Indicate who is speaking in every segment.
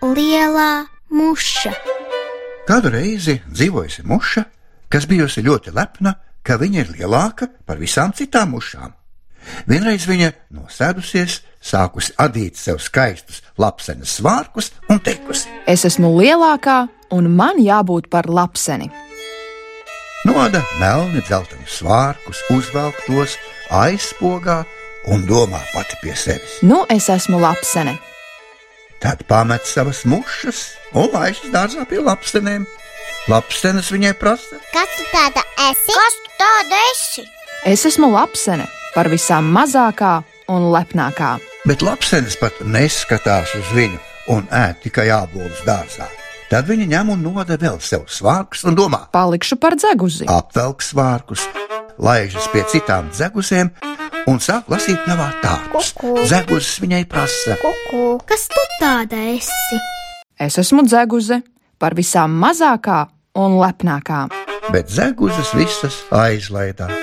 Speaker 1: Lielā muša.
Speaker 2: Kādu reizi dzīvojusi muša, kas bijusi ļoti lepna, ka viņa ir lielāka par visām citām mušām. Vienreiz viņa nosēdusies, sākusi adīt sev skaistus lapsenes svārkus un teikusi:
Speaker 3: Es esmu lielākā, un man jābūt par lapseni.
Speaker 2: Noda melni dzeltenus svārkus, uzvelk tos, aizpogā un domā pati pie sevis.
Speaker 3: Nu, es esmu lapsene.
Speaker 2: Tad pamet savas mušas un aizjūtas dārzā pie lapstenēm. Lapstenes viņai prasa,
Speaker 4: Kas tu tāda esi? Kas tu tāda esi?
Speaker 3: Es esmu lapsene, par visām mazākā un lepnākā.
Speaker 2: bet lapstenes pat neskatās uz viņu un ēd tikai abolus dārzā. Tad viņa ņem un noda vēl sev svārkus un domā,
Speaker 3: Palikšu par dzeguzi.
Speaker 2: apvelk svārkus, laižas pie citām dzegusēm un sāk lasīt navā tārpus.
Speaker 4: Kuku.
Speaker 2: Zeguzes viņai prasa,
Speaker 4: Kuku.
Speaker 1: Kas tu tāda esi?
Speaker 3: Es esmu dzeguze, par visām mazākā un lepnākā.
Speaker 2: bet zeguzes visas aizlaidās.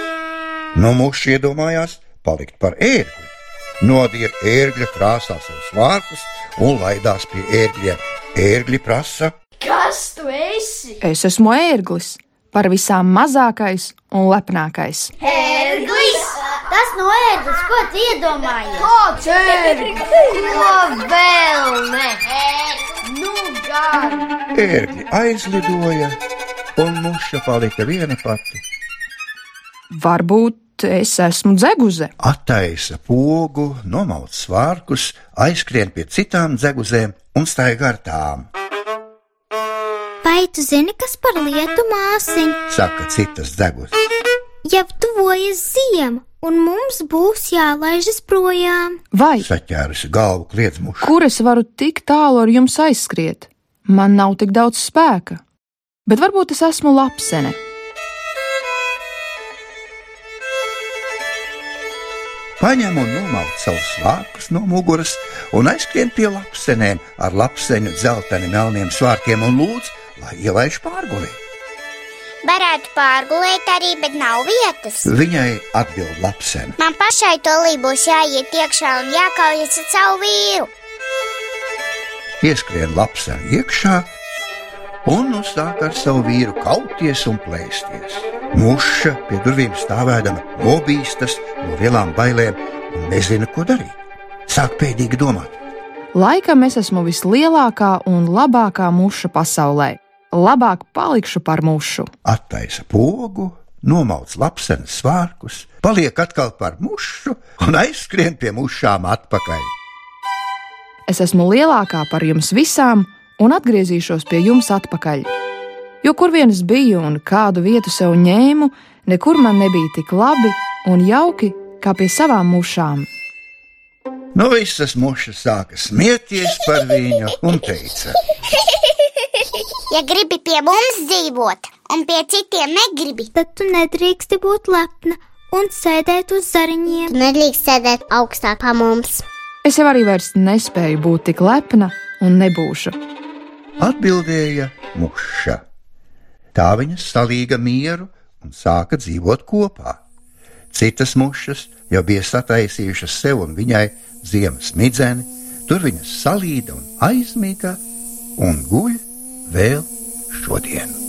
Speaker 2: Nu, muši iedomājās palikt par ērgli. Nodīja ērgļa krāsā savus vārkus un laidās pie ērgļiem. Ērgļi prasa,
Speaker 5: Kas tu esi?
Speaker 3: Es esmu ērglis, par visām mazākais un lepnākais.
Speaker 4: Erglis! Tas no ērglis, ko tu iedomājies?
Speaker 5: Kāds ērglis? No vēl ne! Nu gan!
Speaker 2: ērgļi aizlidoja, un muša palika viena pati.
Speaker 3: Varbūt es esmu dzeguze.
Speaker 2: Attaisa pogu, nomaut svārkus, aizskrien pie citām dzeguzēm un staigā ar tām.
Speaker 1: Vai tu zini, kas par lietu māsiņu?
Speaker 2: Saka citas dzeguzes.
Speaker 1: Jau tuvojas ziema, un mums būs jālaižas projām.
Speaker 3: Vai
Speaker 2: Saķērusi galvu kliedz muša.
Speaker 3: kur es varu tik tālu ar jums aizskriet? Man nav tik daudz spēka. Bet varbūt es esmu lapsene.
Speaker 2: Paņem un nomaut savus svārkus no muguras un aizskrien pie lapsenēm ar lapseņu dzelteni melniem svārkiem un lūdz, lai ielaiž pārgulī.
Speaker 4: Varētu pārgulēt arī, bet nav vietas.
Speaker 2: Viņai atbild lapsene.
Speaker 4: Man pašai to lībūs jāiet iekšā un jākaujas ar savu vīru.
Speaker 2: Ieskrien lapsene iekšā un uzsāk ar savu vīru kauties un plēsties. Muša pie durvīm stāvēdama nobīstas no lielām bailēm un nezina, ko darīt. Sāk pēdīgi domāt.
Speaker 3: Laikam es esmu vislielākā un labākā muša pasaulē. Labāk palikšu par mušu.
Speaker 2: attaisa pogu, nomauc lapsenes svārkus, paliek atkal par mušu un aizskrien pie mušām atpakaļ.
Speaker 3: Es esmu lielākā par jums visām un atgriezīšos pie jums atpakaļ. Jo kur vien es biju un kādu vietu sev ņēmu, nekur man nebija tik labi un jauki kā pie savām mušām.
Speaker 2: Nu, visas mušas sāka smieties par viņu un teica,
Speaker 4: Ja gribi pie mums dzīvot, un pie citiem negribi,
Speaker 1: Tad tu nedrīksti būt lepna un sēdēt uz zariņiem.
Speaker 4: tad nedrīkst sēdēt augstāk par mums.
Speaker 3: Es jau arī vairs nespēju būt tik lepna un nebūšu.
Speaker 2: atbildēja muša. Tā viņa salīga mieru un sāka dzīvot kopā. Citas mušas jau bija sataisījušas sev un viņai ziemas midzeni, tur viņas salīda un aizmiga un guļ vēl šodien.